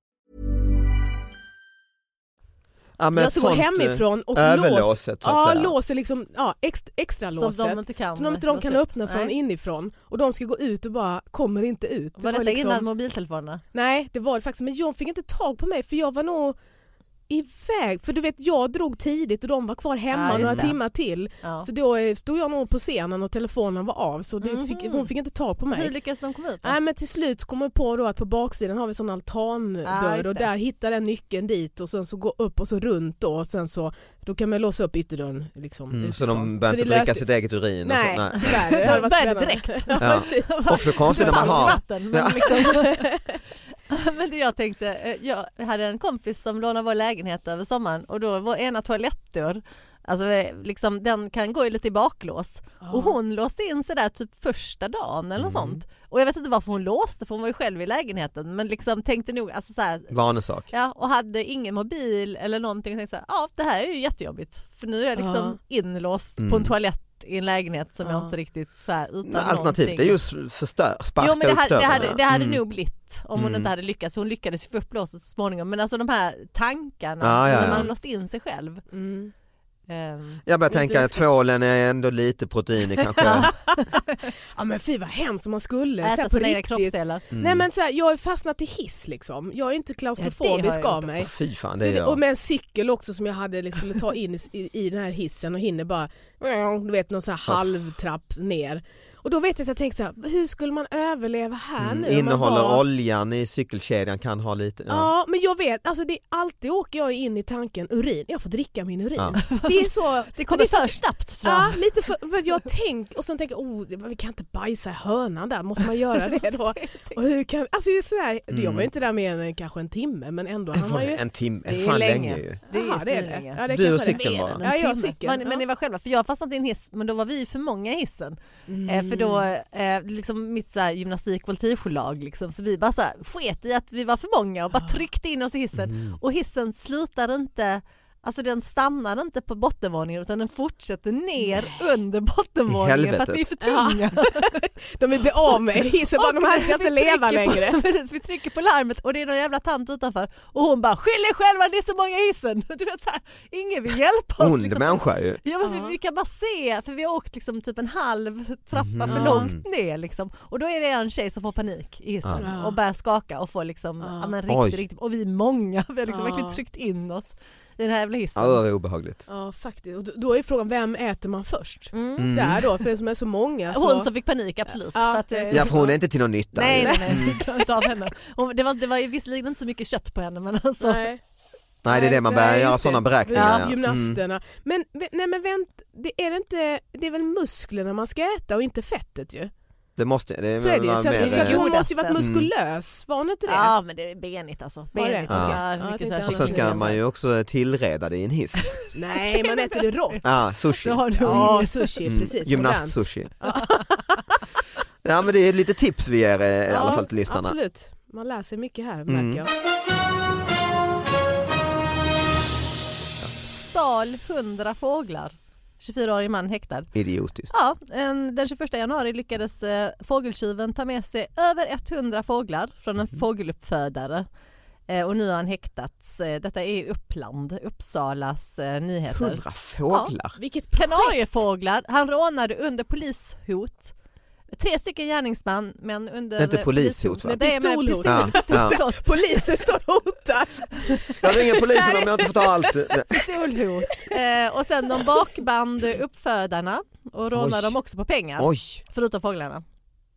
Speaker 3: Ja, men
Speaker 4: jag ska gå
Speaker 3: sånt, eh,
Speaker 4: hemifrån och lås,
Speaker 3: överlåset, så att
Speaker 4: ja,
Speaker 3: säga.
Speaker 4: låser liksom, ja, extra, extra
Speaker 2: Som
Speaker 4: låset.
Speaker 2: de inte kan
Speaker 4: som de inte de
Speaker 2: låsa
Speaker 4: kan
Speaker 2: upp.
Speaker 4: öppna från
Speaker 2: Nej.
Speaker 4: inifrån. Och de ska gå ut och bara kommer inte ut. liksom-
Speaker 2: Var detta innan mobiltelefonerna?
Speaker 4: Nej, det var det faktiskt. Men jag fick inte tag på mig för jag var nog iväg. För du vet, jag drog tidigt och de var kvar
Speaker 2: Ja,
Speaker 4: hemma
Speaker 2: just
Speaker 4: några
Speaker 2: det.
Speaker 4: timmar till.
Speaker 2: Ja.
Speaker 4: Så då eh, stod jag nog på scenen och telefonen var av så det fick, hon fick inte tag på mig.
Speaker 2: Mhm. Hur lyckades de komma ut? då?
Speaker 4: Nej men till slut så kom jag på då att på baksidan har vi sån
Speaker 2: Ah,
Speaker 4: altandörr
Speaker 2: just
Speaker 4: och
Speaker 2: det.
Speaker 4: där hittar den nyckeln dit och sen så gå upp och så runt då och sen så då kan man låsa upp ytterdörren. Liksom,
Speaker 3: Mm, så
Speaker 4: utifrån.
Speaker 3: de börjar
Speaker 4: det
Speaker 3: inte dricka
Speaker 4: löste-
Speaker 3: sitt eget alltså, urin?
Speaker 4: Nej,
Speaker 3: Och
Speaker 4: *laughs*
Speaker 2: *laughs*
Speaker 3: så,
Speaker 4: tyvärr. Det hade varit
Speaker 2: Började
Speaker 4: spännande.
Speaker 2: direkt.
Speaker 3: Ja. Också konstigt när man
Speaker 2: Det
Speaker 3: har...
Speaker 2: fanns vatten, men, liksom, men det jag tänkte, eh, jag hade en kompis som lånade vår lägenhet över sommaren och då var ena toalettdörr, alltså eh, liksom, den kan gå i lite i baklås och hon låste in sig där typ första dagen eller
Speaker 3: Mm.
Speaker 2: något sånt. Och jag vet inte varför hon låste för hon var ju själv i lägenheten men liksom tänkte nog, alltså så här,
Speaker 3: Vanesak.
Speaker 2: Ja, och hade ingen mobil eller någonting. Jag tänkte så här, ja det här är ju jättejobbigt. För nu är jag liksom inlåst på
Speaker 3: Mm.
Speaker 2: en toalett i en lägenhet som jag inte riktigt så här utan någonting.
Speaker 3: Alternativt det är ju s- förstör, sparka
Speaker 2: Jo men det
Speaker 3: upp
Speaker 2: hade, det
Speaker 3: dörren.
Speaker 2: hade, det hade
Speaker 3: Mm.
Speaker 2: nog blivit om hon inte hade lyckats. Hon lyckades ju få upp låset så småningom. Men alltså de här tankarna
Speaker 3: Ja, ja,
Speaker 2: när
Speaker 3: ja.
Speaker 2: man har låst in sig själv.
Speaker 4: Mm.
Speaker 2: Ehm,
Speaker 3: Jag börjar
Speaker 2: Lite
Speaker 3: tänka att
Speaker 2: läskigt.
Speaker 3: tvålen är ändå lite proteiner
Speaker 4: *laughs*
Speaker 3: kanske.
Speaker 4: Ja men fy vad hemskt om man skulle. så
Speaker 2: äta
Speaker 4: här, på
Speaker 2: sina egna
Speaker 4: riktigt.
Speaker 2: kroppsdelar.
Speaker 3: Mm.
Speaker 4: Nej men så här, jag är fastnat i hiss liksom. Jag är inte klaustrofobisk
Speaker 2: Ja, det har jag
Speaker 4: av mig.
Speaker 3: Fy fan
Speaker 4: Så
Speaker 3: det är
Speaker 4: det, och
Speaker 3: jag.
Speaker 4: med en cykel också som jag hade liksom, skulle ta in i, i, i den här hissen och hinner bara, du vet någon så här halvtrapp ner. Och då vet jag att jag tänkte så här, hur skulle man överleva här
Speaker 3: Mm,
Speaker 4: nu? om man
Speaker 3: innehåller
Speaker 4: bara-
Speaker 3: oljan i cykelkedjan kan ha lite,
Speaker 4: Ja.
Speaker 3: ja.
Speaker 4: men jag vet, alltså det, alltid åker jag in i tanken urin, jag får dricka min urin.
Speaker 3: Ja.
Speaker 4: Det är så...
Speaker 2: *laughs* Det kommer
Speaker 4: är
Speaker 2: för snabbt tror jag.
Speaker 4: Ja, lite för, men jag tänk, och sen tänker jag, oh, det- vi kan inte bajsa i hörnan där, måste man göra det *laughs* då? Och hur kan, alltså det är sådär, jag
Speaker 3: Mm.
Speaker 4: var inte där mer än kanske en timme men ändå.
Speaker 3: *laughs*
Speaker 4: Han var ju,
Speaker 3: en timme,
Speaker 2: Det är
Speaker 3: fan länge,
Speaker 2: länge.
Speaker 3: ju.
Speaker 2: Det är
Speaker 4: Jaha,
Speaker 2: svinlänge.
Speaker 4: Ja, det
Speaker 3: Du och
Speaker 4: kanske det.
Speaker 3: cykeln bara.
Speaker 4: Ja, jag och cykeln.
Speaker 2: Men, men det var själva, för jag fastnade i en hiss men då var vi för många i hissen. Eh, för då,
Speaker 4: Mm.
Speaker 2: eh, liksom mitt så här gymnastik voltigelag liksom, så vi bara så här, sket i att vi var för många
Speaker 4: Ah.
Speaker 2: och bara tryckte in oss i hissen.
Speaker 3: Mm.
Speaker 2: Och hissen slutar inte Alltså den stannar inte på bottenvåningen utan den fortsätter ner under bottenvåningen för att
Speaker 3: helvetet.
Speaker 2: vi är för tunga.
Speaker 4: *laughs* De vill bli av med hissen, bara de här ska *laughs*
Speaker 2: vi
Speaker 4: inte leva
Speaker 2: trycker på- *laughs*
Speaker 4: längre.
Speaker 2: Precis, vi trycker på larmet och det är någon jävla tant utanför och hon bara skyll er själva det är så många i hissen. *laughs* Du vet, så här, ingen vill hjälpa oss. liksom.
Speaker 3: Ond
Speaker 4: liksom-
Speaker 3: människa ju.
Speaker 2: Ja, men vi, vi kan bara se, för vi har åkt liksom typ en halv trappa
Speaker 4: Mhm.
Speaker 2: för långt ner liksom. Och då är det en tjej som får panik i hissen och börjar skaka och får liksom, ja men
Speaker 3: Oj.
Speaker 2: riktigt, riktigt, och vi är många, *laughs* vi har liksom
Speaker 4: Ja.
Speaker 2: verkligen tryckt in oss i den här jävla hissen.
Speaker 3: Ja, det var obehagligt.
Speaker 4: Ja faktiskt, och då- då är frågan vem äter man först?
Speaker 2: Mm.
Speaker 4: Där då, för det som är så många. Så...
Speaker 2: Hon som fick panik absolut.
Speaker 4: Ja.
Speaker 2: för att, eh,
Speaker 3: Ja, för hon är inte till någon nytta.
Speaker 2: Nej,
Speaker 3: ju.
Speaker 2: nej, nej, vi klarar inte av henne. Hon, det, var, det var ju visserligen inte så mycket kött på henne men alltså.
Speaker 4: Nej.
Speaker 3: nej det är det man börjar
Speaker 4: nej,
Speaker 3: göra
Speaker 4: just det.
Speaker 3: sådana beräkningar.
Speaker 4: Ja,
Speaker 3: ja. Mm.
Speaker 4: Gymnasterna. Men, vä- nej, men vänt, det är, det inte, det är väl musklerna man ska äta och inte fettet ju?
Speaker 3: Det måste, det
Speaker 4: Så är det ju.
Speaker 3: var
Speaker 4: Så
Speaker 3: mer,
Speaker 4: jag, så att
Speaker 3: eh,
Speaker 4: hon måste ju varit
Speaker 2: Mm.
Speaker 4: muskulös, var hon inte det?
Speaker 2: Ja men det är benigt alltså. Benigt.
Speaker 4: det?
Speaker 3: Okej.
Speaker 2: Ja,
Speaker 4: Ja, jag
Speaker 2: mycket
Speaker 4: tänkte
Speaker 2: så här
Speaker 3: och sen ska
Speaker 2: kyckling.
Speaker 3: man ju också tillreda det i en
Speaker 4: *laughs*
Speaker 3: hiss.
Speaker 4: Nej, man äter det rått.
Speaker 3: Ja, sushi.
Speaker 2: Då har du
Speaker 4: Ja, sushi,
Speaker 3: Mm,
Speaker 4: precis. *laughs*
Speaker 3: Gymnast-sushi. ja men det är lite tips vi ger eh, i
Speaker 4: modernt.
Speaker 3: alla
Speaker 4: Ja,
Speaker 3: fall till lyssnarna.
Speaker 4: Absolut, man lär sig mycket här
Speaker 3: Mm.
Speaker 4: märker jag.
Speaker 2: Stal 100 fåglar. 24-årig man häktad.
Speaker 3: Idiotiskt.
Speaker 2: Ja, en, den 21 januari lyckades eh, fågeltjuven ta med sig över 100 fåglar från
Speaker 3: Mhm.
Speaker 2: en fågeluppfödare. Eh, och nu har han häktats. Eh, detta är i Uppland, Uppsalas eh, nyheter.
Speaker 3: Hundra fåglar.
Speaker 4: Vilket projekt!
Speaker 2: Kanariefåglar. Han rånade under polishot. Tre stycken gärningsmän men under...
Speaker 3: Det är inte polishot, va? Ah,
Speaker 2: Nej, men pistol-
Speaker 4: Pistolhot.
Speaker 3: Ja, ja.
Speaker 2: pistolhot.
Speaker 4: Polisen står och hotar.
Speaker 3: Jag ringer polisen om jag inte får ta allt.
Speaker 4: *laughs*
Speaker 3: Nej.
Speaker 2: Pistolhot. Eh, och sen de bakband uppfödarna och rånade
Speaker 3: Oj.
Speaker 2: dem också på pengar.
Speaker 3: Oj,
Speaker 2: Förutom fåglarna.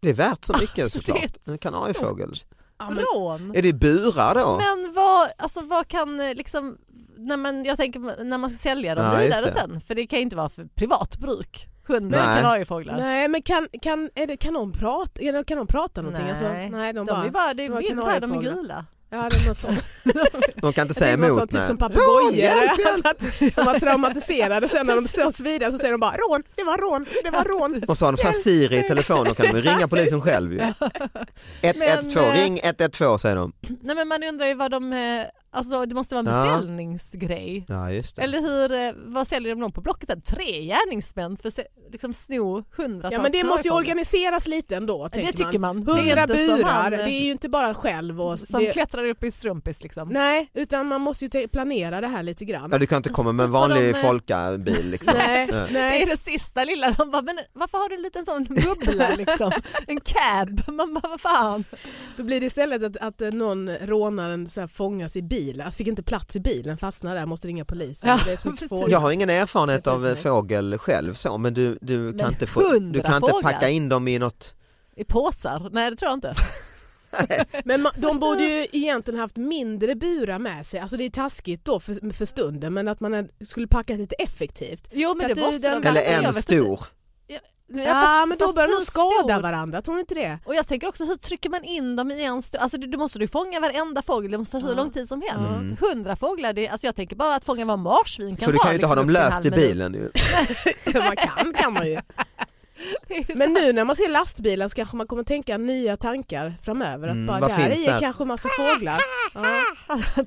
Speaker 3: det är värt så mycket
Speaker 2: Alltså, det är
Speaker 3: såklart. En kanariefågel.
Speaker 4: Ja, men,
Speaker 2: Rån!
Speaker 3: Är det burar då?
Speaker 2: Men vad, alltså, vad kan eh, liksom, när man, jag tänker när man ska sälja dem
Speaker 3: Ja, just
Speaker 2: vidare
Speaker 3: det.
Speaker 2: sen, för det kan ju inte vara för privat bruk. Hundra
Speaker 3: Nej.
Speaker 2: kanariefåglar.
Speaker 4: nej, men kan, kan, är det, kan, de prata, är det, kan de prata någonting? Alltså, nej, de,
Speaker 2: de,
Speaker 4: bara,
Speaker 2: är bara, det
Speaker 4: de var
Speaker 2: är bild här, de är
Speaker 4: kanariefåglar.
Speaker 2: gula.
Speaker 4: Ja, det är något sånt.
Speaker 3: De kan inte
Speaker 4: Jag
Speaker 3: säga
Speaker 4: tänkte någon sån
Speaker 3: emot.
Speaker 4: typ
Speaker 3: nej.
Speaker 4: som
Speaker 3: Rån,
Speaker 4: papegojor.
Speaker 3: hjälp, hjälp.
Speaker 4: Alltså *laughs* att de var traumatiserade
Speaker 2: *laughs*
Speaker 4: sen när de stöts vidare så säger de bara rån, det var rån, det var rån.
Speaker 3: Och så har de så här Siri i telefonen, då kan de ju ringa polisen själv ju. 112,
Speaker 2: Men, eh,
Speaker 3: ring 112 säger de.
Speaker 2: Nej men man undrar ju vad de, eh, alltså det måste vara en
Speaker 3: Ja.
Speaker 2: beställningsgrej.
Speaker 3: Ja just det.
Speaker 2: Eller hur, eh, vad säljer de dem på Blocket? där? Tre gärningsmän för att se- liksom sno hundratals
Speaker 4: Ja men det måste ju
Speaker 2: kanariefåglar.
Speaker 4: organiseras lite ändå
Speaker 2: Det
Speaker 4: tänker
Speaker 2: tycker man. Det är
Speaker 4: Hundra
Speaker 2: inte som
Speaker 4: burar,
Speaker 2: han, eh,
Speaker 4: det är ju inte bara själv och...
Speaker 2: Som
Speaker 4: det,
Speaker 2: klättrar upp i strumpis liksom.
Speaker 4: nej, utan man måste ju te- planera det här lite grann.
Speaker 3: Ja, du kan inte komma med en
Speaker 2: Får de,
Speaker 3: vanlig
Speaker 2: eh,
Speaker 3: folkabil liksom.
Speaker 4: Nej,
Speaker 3: Nej.
Speaker 2: Det är
Speaker 4: nej.
Speaker 2: det sista lilla. De bara, men varför har du en liten sån
Speaker 4: *laughs*
Speaker 2: bubbla liksom? En cab. Man bara, vad fan.
Speaker 4: Då blir det istället att, att eh, någon rånaren så här fångas i bilen, alltså fick inte plats i bilen, fastnar där, måste ringa polisen.
Speaker 2: Ja,
Speaker 4: det är så mycket
Speaker 2: precis.
Speaker 4: frågor.
Speaker 3: Jag har ingen erfarenhet
Speaker 4: Jag vet
Speaker 3: av eh,
Speaker 4: inte.
Speaker 3: fågel själv så men du, du kan,
Speaker 2: Men
Speaker 3: inte, få, du kan inte
Speaker 2: hundrafåglar?
Speaker 3: packa in dem i något.
Speaker 2: I påsar? Nej det tror jag inte.
Speaker 4: Men ma- de borde ju egentligen haft mindre burar med sig, alltså det är taskigt då för, för stunden men att man är- skulle packa lite effektivt.
Speaker 2: Jo men
Speaker 4: Att
Speaker 2: det
Speaker 4: du,
Speaker 2: måste
Speaker 4: den-
Speaker 2: de
Speaker 3: Eller
Speaker 2: verkligen. Jag
Speaker 3: en
Speaker 2: vet
Speaker 3: stor.
Speaker 2: inte.
Speaker 4: Ja,
Speaker 2: fast-
Speaker 4: men då
Speaker 2: fast
Speaker 4: börjar de
Speaker 2: hur
Speaker 4: skada
Speaker 2: stor?
Speaker 4: varandra, tror ni inte det? *laughs*
Speaker 2: Och jag tänker också hur trycker man in dem i en stor, alltså du, du måste du fånga varenda fågel, det måste ta hur lång tid som helst. Hundra fåglar, det, alltså jag tänker bara att fånga var marsvin kan
Speaker 3: Mm. För du
Speaker 2: ta
Speaker 3: kan ju inte ha
Speaker 2: liksom
Speaker 3: dem
Speaker 2: upp till en
Speaker 3: löst
Speaker 2: halv
Speaker 3: i
Speaker 2: minut.
Speaker 3: bilen ju.
Speaker 4: man kan kan man
Speaker 2: *laughs*
Speaker 4: ju. Men nu när man ser lastbilar så kanske man kommer tänka nya tankar framöver. Att
Speaker 3: Mm,
Speaker 4: bara
Speaker 3: vad
Speaker 4: där
Speaker 3: finns
Speaker 4: i
Speaker 3: där?
Speaker 4: är kanske massa
Speaker 2: *laughs*
Speaker 4: fåglar. Ja.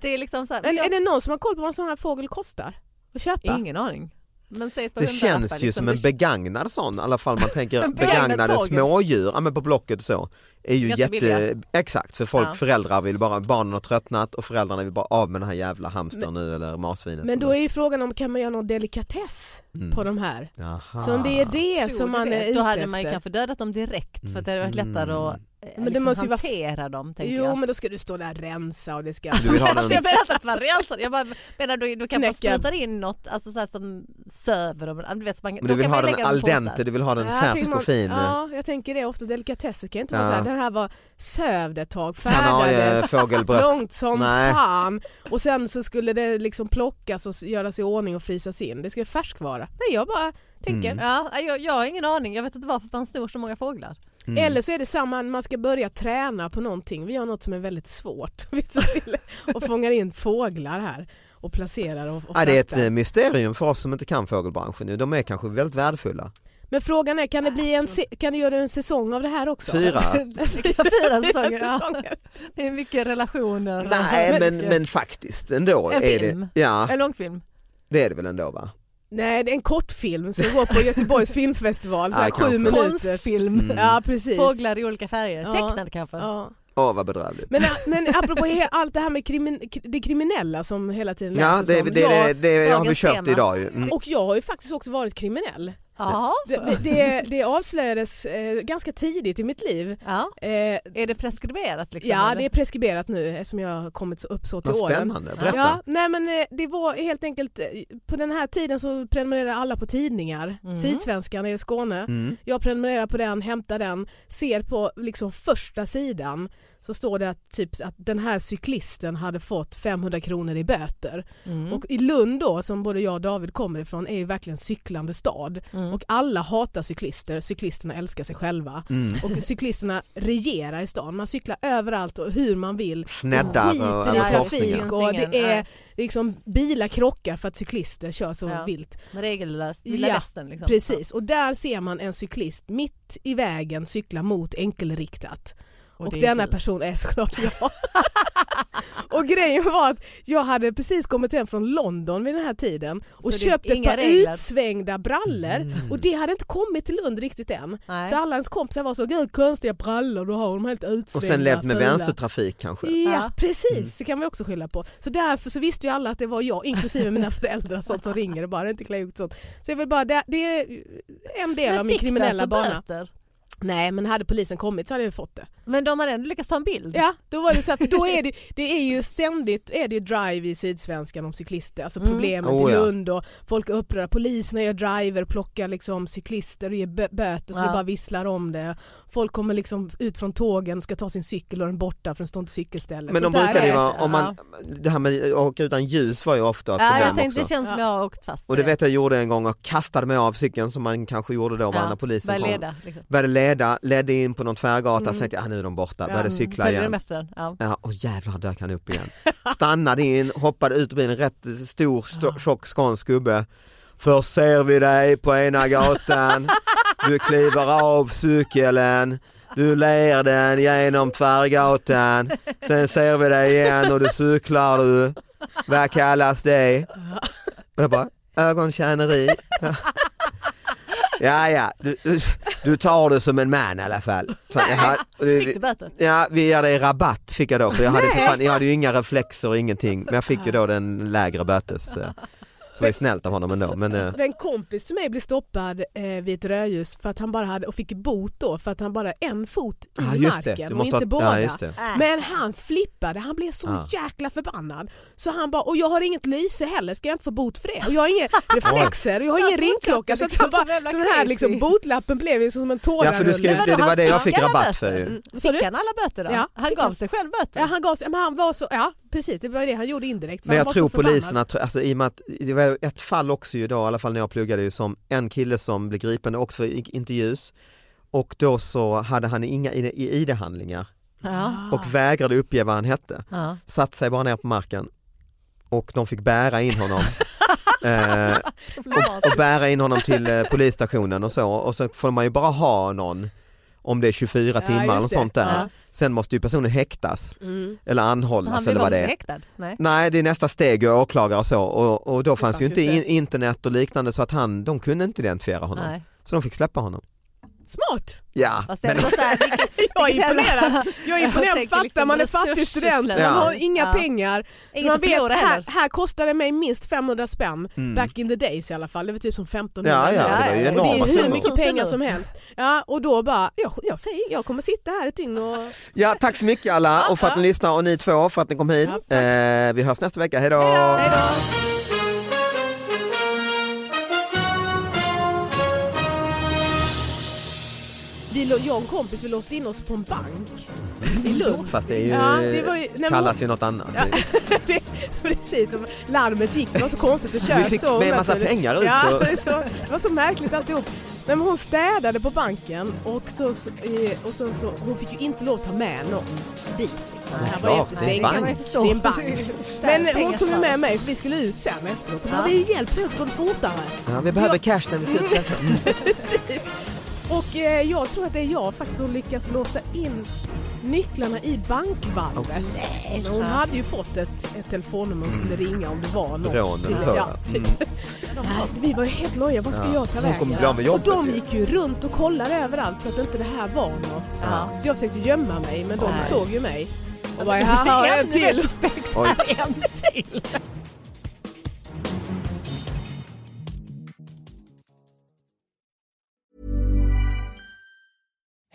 Speaker 2: det är liksom så här, men
Speaker 4: Är, är
Speaker 2: jag,
Speaker 4: det någon som har koll på vad en sån här fågel kostar? Att köpa?
Speaker 2: ingen aning. Men säg ett par
Speaker 3: Det
Speaker 2: hundralappar,
Speaker 3: känns ju
Speaker 2: liksom.
Speaker 3: som en begagnad sån i alla fall man tänker
Speaker 2: begagnad
Speaker 3: begagnade
Speaker 2: fågel.
Speaker 3: smådjur, ja men på Blocket och så. är ju
Speaker 2: Ganska
Speaker 3: jätte...
Speaker 2: billiga.
Speaker 3: Exakt, för folk,
Speaker 2: Ja.
Speaker 3: föräldrar vill bara, barnen har tröttnat och föräldrarna vill bara av med den här jävla hamstern nu eller marsvinet.
Speaker 4: Men då är ju frågan om kan man göra någon delikatess
Speaker 3: Mm.
Speaker 4: på de här?
Speaker 3: Jaha.
Speaker 4: Så om det är
Speaker 2: Tror
Speaker 4: det som
Speaker 2: du
Speaker 4: Alltså, man
Speaker 2: det?
Speaker 4: är ute
Speaker 2: Då hade man ju
Speaker 4: efter.
Speaker 2: kanske dödat dem direkt för att det hade varit
Speaker 3: Mm.
Speaker 2: lättare att
Speaker 4: Men
Speaker 2: men
Speaker 4: det
Speaker 2: liksom
Speaker 4: måste ju vara-
Speaker 2: hantera dem. Tänker
Speaker 4: Jo
Speaker 2: jag.
Speaker 4: men då ska du stå där och rensa och det ska...
Speaker 3: Du vill ha
Speaker 2: *laughs*
Speaker 3: den-
Speaker 2: Alltså, jag menar inte att man rensar, jag bara menar du, du kan man
Speaker 4: Knäcken.
Speaker 2: spruta in något alltså, så här, som söver dem. Du vet, så man,
Speaker 3: Men
Speaker 2: då
Speaker 3: du vill
Speaker 2: kan
Speaker 3: ha
Speaker 2: man ju
Speaker 3: den
Speaker 2: lägga
Speaker 3: al
Speaker 2: på så här.
Speaker 3: dente, du vill ha den
Speaker 4: *laughs* Ja, jag
Speaker 3: färsk
Speaker 4: tänker man-
Speaker 3: och fin.
Speaker 4: Ja, jag tänker det. Ofta delikatesser kan ju inte vara
Speaker 3: Ja.
Speaker 4: såhär, den här var sövd ett tag, färdades
Speaker 3: Kanariefågelbröst.
Speaker 4: långt som
Speaker 3: Nej.
Speaker 4: fan och sen så skulle det liksom plockas och s- göras i ordning och frysas in. Det ska ju färskvara. Nej jag bara tänker.
Speaker 3: Mm.
Speaker 2: Ja, jag, jag har ingen aning, jag vet inte varför man snor så många
Speaker 4: *laughs*
Speaker 2: fåglar.
Speaker 3: Mm.
Speaker 4: Eller så är det samma, man ska börja träna på någonting. Vi har något som är väldigt svårt. *laughs* Vi ser till och fångar in fåglar här och placerar och, och
Speaker 3: Ja, det är ett
Speaker 4: fraktar.
Speaker 3: eh, mysterium för oss som inte kan fågelbranschen nu. De är kanske väldigt värdefulla.
Speaker 4: Men frågan är, kan det bli en, se- kan du göra en säsong av det här också?
Speaker 3: Fyra.
Speaker 4: *laughs*
Speaker 2: Fyra säsonger, ja.
Speaker 4: säsonger.
Speaker 2: Det är mycket relationer. *laughs*
Speaker 3: Nej men,
Speaker 2: Mycket.
Speaker 3: men faktiskt ändå.
Speaker 2: En
Speaker 3: är
Speaker 2: film.
Speaker 3: Det, ja
Speaker 2: En långfilm.
Speaker 3: det är det väl ändå va?
Speaker 4: Nej, det är en kortfilm som går
Speaker 3: *laughs*
Speaker 4: på Göteborgs filmfestival, så här
Speaker 3: Ja,
Speaker 4: sju
Speaker 3: kanske.
Speaker 4: minuter.
Speaker 2: Konstfilm.
Speaker 3: Mm.
Speaker 4: Ja, precis.
Speaker 2: Fåglar i olika färger,
Speaker 4: Ja.
Speaker 2: tecknad kanske.
Speaker 4: Ja.
Speaker 3: Åh vad bedrövligt.
Speaker 4: Men, äh, men apropå he- allt det här med krimin k- det kriminella alltså som hela tiden
Speaker 3: Ja
Speaker 4: läses
Speaker 3: det,
Speaker 4: om.
Speaker 3: det, det,
Speaker 4: Jag,
Speaker 3: det har vi
Speaker 2: dagens
Speaker 3: kört
Speaker 2: tema.
Speaker 3: idag ju. Mm.
Speaker 4: och jag har ju faktiskt också varit kriminell.
Speaker 2: Ja.
Speaker 4: Det, det, det avslöjades eh, ganska tidigt i mitt liv.
Speaker 2: ja.
Speaker 4: Eh,
Speaker 2: Är det preskriberat? Liksom,
Speaker 4: ja,
Speaker 2: eller?
Speaker 4: det är preskriberat nu eftersom jag har kommit så upp så till
Speaker 3: Vad
Speaker 4: åren.
Speaker 3: spännande, berätta.
Speaker 4: Ja, nej men eh, det var helt enkelt, eh, på den här tiden så prenumererade alla på tidningar.
Speaker 2: Mm.
Speaker 4: Sydsvenskan i Skåne.
Speaker 3: Mm.
Speaker 4: Jag prenumererar på den, hämtar den, ser på liksom första sidan så står det att, typ, att den här cyklisten hade fått 500 kronor i böter.
Speaker 2: Mm.
Speaker 4: Och i Lund då, som både jag och David kommer ifrån, är ju verkligen cyklande stad.
Speaker 2: Mm.
Speaker 4: Och alla hatar cyklister, cyklisterna älskar sig själva.
Speaker 3: Mm.
Speaker 4: Och cyklisterna regerar i stan, man cyklar överallt och hur man vill.
Speaker 3: Snädda
Speaker 4: skiter
Speaker 3: och
Speaker 4: i
Speaker 3: alla
Speaker 2: trafik.
Speaker 3: korsningar.
Speaker 4: trafik och det
Speaker 2: Nej.
Speaker 4: är liksom bilar krockar för att cyklister kör så
Speaker 2: Ja.
Speaker 4: vilt.
Speaker 2: Regellöst, Vilda
Speaker 4: Ja,
Speaker 2: Västern. Liksom.
Speaker 4: Precis, och där ser man en cyklist mitt i vägen cykla mot enkelriktat. Och,
Speaker 2: det är
Speaker 4: denna
Speaker 2: kul.
Speaker 4: person är såklart jag. *laughs* och grejen var att jag hade precis kommit hem från London vid den här tiden och
Speaker 2: Så det är
Speaker 4: köpt ett
Speaker 2: inga
Speaker 4: par
Speaker 2: regler.
Speaker 4: utsvängda brallor
Speaker 3: Mm.
Speaker 4: och det hade inte kommit till Lund riktigt än.
Speaker 2: Nej.
Speaker 4: Så alla ens kompisar var så, gud konstiga brallor du har, de är helt
Speaker 3: Och
Speaker 4: utsvängda.
Speaker 3: sen levt med
Speaker 4: fula."
Speaker 3: vänstertrafik kanske.
Speaker 4: Ja
Speaker 2: Ja.
Speaker 4: precis,
Speaker 3: Mm.
Speaker 4: det kan man också skylla på. Så därför så visste ju alla att det var jag, inklusive mina *laughs* föräldrar sånt som ringer och bara det är inte klokt sånt. Så jag vill bara, det, det är en del av
Speaker 2: Men
Speaker 4: min
Speaker 2: fick du
Speaker 4: kriminella
Speaker 2: alltså
Speaker 4: bana.
Speaker 2: böter?
Speaker 4: Nej men hade polisen kommit så hade jag fått det.
Speaker 2: Men de har ändå lyckats ta en bild?
Speaker 4: Ja, då var det så här,
Speaker 2: *laughs*
Speaker 4: för då är det, det är ju ständigt är det ju drive i Sydsvenskan om cyklister, alltså
Speaker 2: Mm.
Speaker 4: problemet
Speaker 3: Oh,
Speaker 4: i
Speaker 3: ja.
Speaker 4: Lund och folk är upprörda, poliserna gör driver, plockar liksom cyklister och ger bö- böter så
Speaker 2: Ja.
Speaker 4: det bara visslar om det. Folk kommer liksom ut från tågen och ska ta sin cykel och den är borta för den står inte cykelstället.
Speaker 3: Men de
Speaker 4: Sånt där
Speaker 3: brukar
Speaker 4: är
Speaker 3: ju
Speaker 2: det.
Speaker 3: vara, om man, det här med att åka utan ljus var ju ofta ett
Speaker 2: Ja, jag
Speaker 3: problem
Speaker 2: tänkte
Speaker 3: också.
Speaker 2: det känns som jag har åkt fast.
Speaker 3: Och det vet jag gjorde en gång och kastade mig av cykeln som man kanske gjorde då var när polisen
Speaker 2: Började
Speaker 3: kom.
Speaker 2: leda. Liksom.
Speaker 3: Började leda, ledde in på någon tvärgata, sen tänkte jag ah, nu är de borta, började cykla
Speaker 2: mm. Följde de
Speaker 3: igen.
Speaker 2: efter den? Ja.
Speaker 3: Ja, och jävlar dök han
Speaker 2: *laughs*
Speaker 3: upp igen. Stannade in, hoppade ut ur bilen, rätt stor st- tjock skånsk gubbe. Först ser vi dig på ena gatan, du kliver av cykeln, du ler den genom tvärgatan, sen ser vi dig igen och du cyklar du. Vad kallas det? Och jag bara, ögontjäneri. Ja, ja, du, du, du tar det som en man i alla fall. Så, jaha, och det-
Speaker 2: Fick du böter?
Speaker 3: Ja, vi hade en rabatt fick jag då för jag hade, för fan, jag hade ju inga reflexer och ingenting men jag fick ju då den lägre bötes. eh, Så var ju snällt av honom ändå. Men, eh,
Speaker 4: Men En kompis till mig blev stoppad eh, vid ett rödljus för att han bara hade, och fick bot då för att han bara en fot i
Speaker 3: ah, just det.
Speaker 4: marken
Speaker 3: Du
Speaker 4: och
Speaker 3: måste
Speaker 4: inte
Speaker 3: ha,
Speaker 4: båda.
Speaker 3: ja, just det. Ah.
Speaker 4: Men han flippade, han blev så
Speaker 3: Ja.
Speaker 4: jäkla förbannad. Så han bara, och jag har inget lyse heller, ska jag inte få bot för det? Och jag har
Speaker 3: *laughs*
Speaker 4: inga reflexer och jag har ingen ringklocka. Så att
Speaker 2: Som
Speaker 4: han bara,
Speaker 2: jävla
Speaker 4: så den här
Speaker 2: crazy.
Speaker 4: liksom, botlappen blev ju som en
Speaker 3: Ja, för du skulle,
Speaker 4: tårarulle.
Speaker 3: det, det var det jag fick
Speaker 2: Fick han
Speaker 3: rabatt
Speaker 2: böter?
Speaker 3: för ju.
Speaker 2: Mm.
Speaker 4: Vad sa
Speaker 2: Fick
Speaker 4: du?
Speaker 2: han alla böter då?
Speaker 4: Ja,
Speaker 2: han
Speaker 4: fick
Speaker 2: gav
Speaker 4: han.
Speaker 2: sig själv böter?
Speaker 4: Ja, han gav sig, men han var så, ja precis det var det han gjorde indirekt. för
Speaker 3: Men
Speaker 4: han
Speaker 3: jag
Speaker 4: var
Speaker 3: tror
Speaker 4: så förbannad.
Speaker 3: poliserna, tror- alltså, i och med att det var ett fall också ju då, i alla fall när jag pluggade ju, som en kille som blev gripen också för i- inte ljus och då så hade han inga ID- ID-handlingar
Speaker 2: Ja.
Speaker 3: och vägrade uppge vad han hette.
Speaker 2: Ja.
Speaker 3: Satt sig bara ner på marken och de fick bära in
Speaker 4: *laughs*
Speaker 3: honom. eh, och, och bära in honom till eh, polisstationen och så och så får man ju bara ha någon om det är 24
Speaker 4: Ja, just
Speaker 3: timmar eller
Speaker 4: det.
Speaker 3: sånt där.
Speaker 2: Ja.
Speaker 3: Sen måste ju personen häktas
Speaker 4: Mm.
Speaker 3: eller
Speaker 2: Så
Speaker 3: anhållas
Speaker 2: han blev
Speaker 3: Alltså, eller vad det
Speaker 2: också
Speaker 3: är.
Speaker 2: häktad? Nej.
Speaker 3: Nej det är nästa steg och åklagare och så och, och då fanns,
Speaker 4: fanns
Speaker 3: ju
Speaker 4: ju
Speaker 3: inte
Speaker 4: inte.
Speaker 3: in, internet och liknande så att han, de kunde inte identifiera honom.
Speaker 2: Nej.
Speaker 3: Så de fick släppa honom.
Speaker 4: Smart!
Speaker 3: Ja,
Speaker 2: Fast
Speaker 3: men,
Speaker 2: ändå så här, vilket-
Speaker 4: Jag är imponerad. Jag är imponerad.
Speaker 2: tänker
Speaker 4: Fatta,
Speaker 2: liksom
Speaker 4: man är fattig
Speaker 2: resursslöseri.
Speaker 4: student, man
Speaker 3: Ja.
Speaker 4: har inga
Speaker 2: Ja.
Speaker 4: pengar.
Speaker 2: Inget
Speaker 4: man
Speaker 2: att förlora
Speaker 4: här,
Speaker 2: heller.
Speaker 4: här kostade det mig minst 500 spänn back in the days i alla fall. Det var typ som 1500
Speaker 3: Mm. ja, ja, det var ju
Speaker 2: Ja,
Speaker 4: Och det
Speaker 3: enorma
Speaker 4: är hur
Speaker 3: summor.
Speaker 4: mycket
Speaker 2: Tusen
Speaker 4: pengar
Speaker 2: nu.
Speaker 4: som helst. Ja, och då bara, jag, jag säger, jag kommer sitta här ett dygn och...
Speaker 3: Ja, tack så mycket alla och för att ni lyssnar och ni två för att ni kom hit. eh, vi hörs nästa vecka, Hej då!
Speaker 4: Vi, lå- jag och en kompis vi låste in oss på en bank i Lund.
Speaker 3: Fast det, är ju,
Speaker 4: Ja, det var ju- nej, men-
Speaker 3: kallas ju något annat.
Speaker 4: det, *laughs* precis, och larmet gick, det var så konstigt att köra
Speaker 3: Vi fick
Speaker 4: så.
Speaker 3: med massa
Speaker 4: plötsligt.
Speaker 3: pengar ut
Speaker 4: Ja,
Speaker 3: och-
Speaker 4: *laughs* det, är så, det var så märkligt alltihop. Men hon städade på banken och, så, så- eh, och sen så, hon fick ju inte lov att ta med någon dit. Det här var ju
Speaker 3: klart, det är en
Speaker 4: jättestängt.
Speaker 3: bank.
Speaker 2: man ju
Speaker 4: Det
Speaker 2: förstå.
Speaker 4: är en bank. Men hon
Speaker 2: Pengar
Speaker 4: tog ju
Speaker 2: fan.
Speaker 4: med mig för vi skulle ut sen efteråt. Hon bara,
Speaker 2: Ja.
Speaker 4: vi hjälps åt så går det fortare.
Speaker 3: Ja, vi behöver cash när vi ska ut och festa. Mm.
Speaker 4: Precis. Och eh, jag tror att det är jag faktiskt som lyckas låsa in nycklarna i bankvalvet. Men Hon hade ju fått ett, ett telefonnummer hon skulle ringa om det var något.
Speaker 3: Mm. Rån eller
Speaker 4: till-
Speaker 3: så,
Speaker 4: ja, typ. *laughs* Nej, Vi var ju helt nojiga, vad ska
Speaker 3: Ja.
Speaker 4: jag ta
Speaker 3: Hon
Speaker 4: vägen?
Speaker 3: kommer bli av med jobbet
Speaker 4: och de
Speaker 3: ju.
Speaker 4: gick ju runt och kollade överallt så att inte det här var något.
Speaker 2: Ja.
Speaker 4: Så jag försökte gömma mig men de
Speaker 2: Nej.
Speaker 4: såg ju mig. Och bara, här har jag en
Speaker 2: Ännu mer
Speaker 4: till.
Speaker 2: suspekt.
Speaker 3: Oj.
Speaker 2: En till.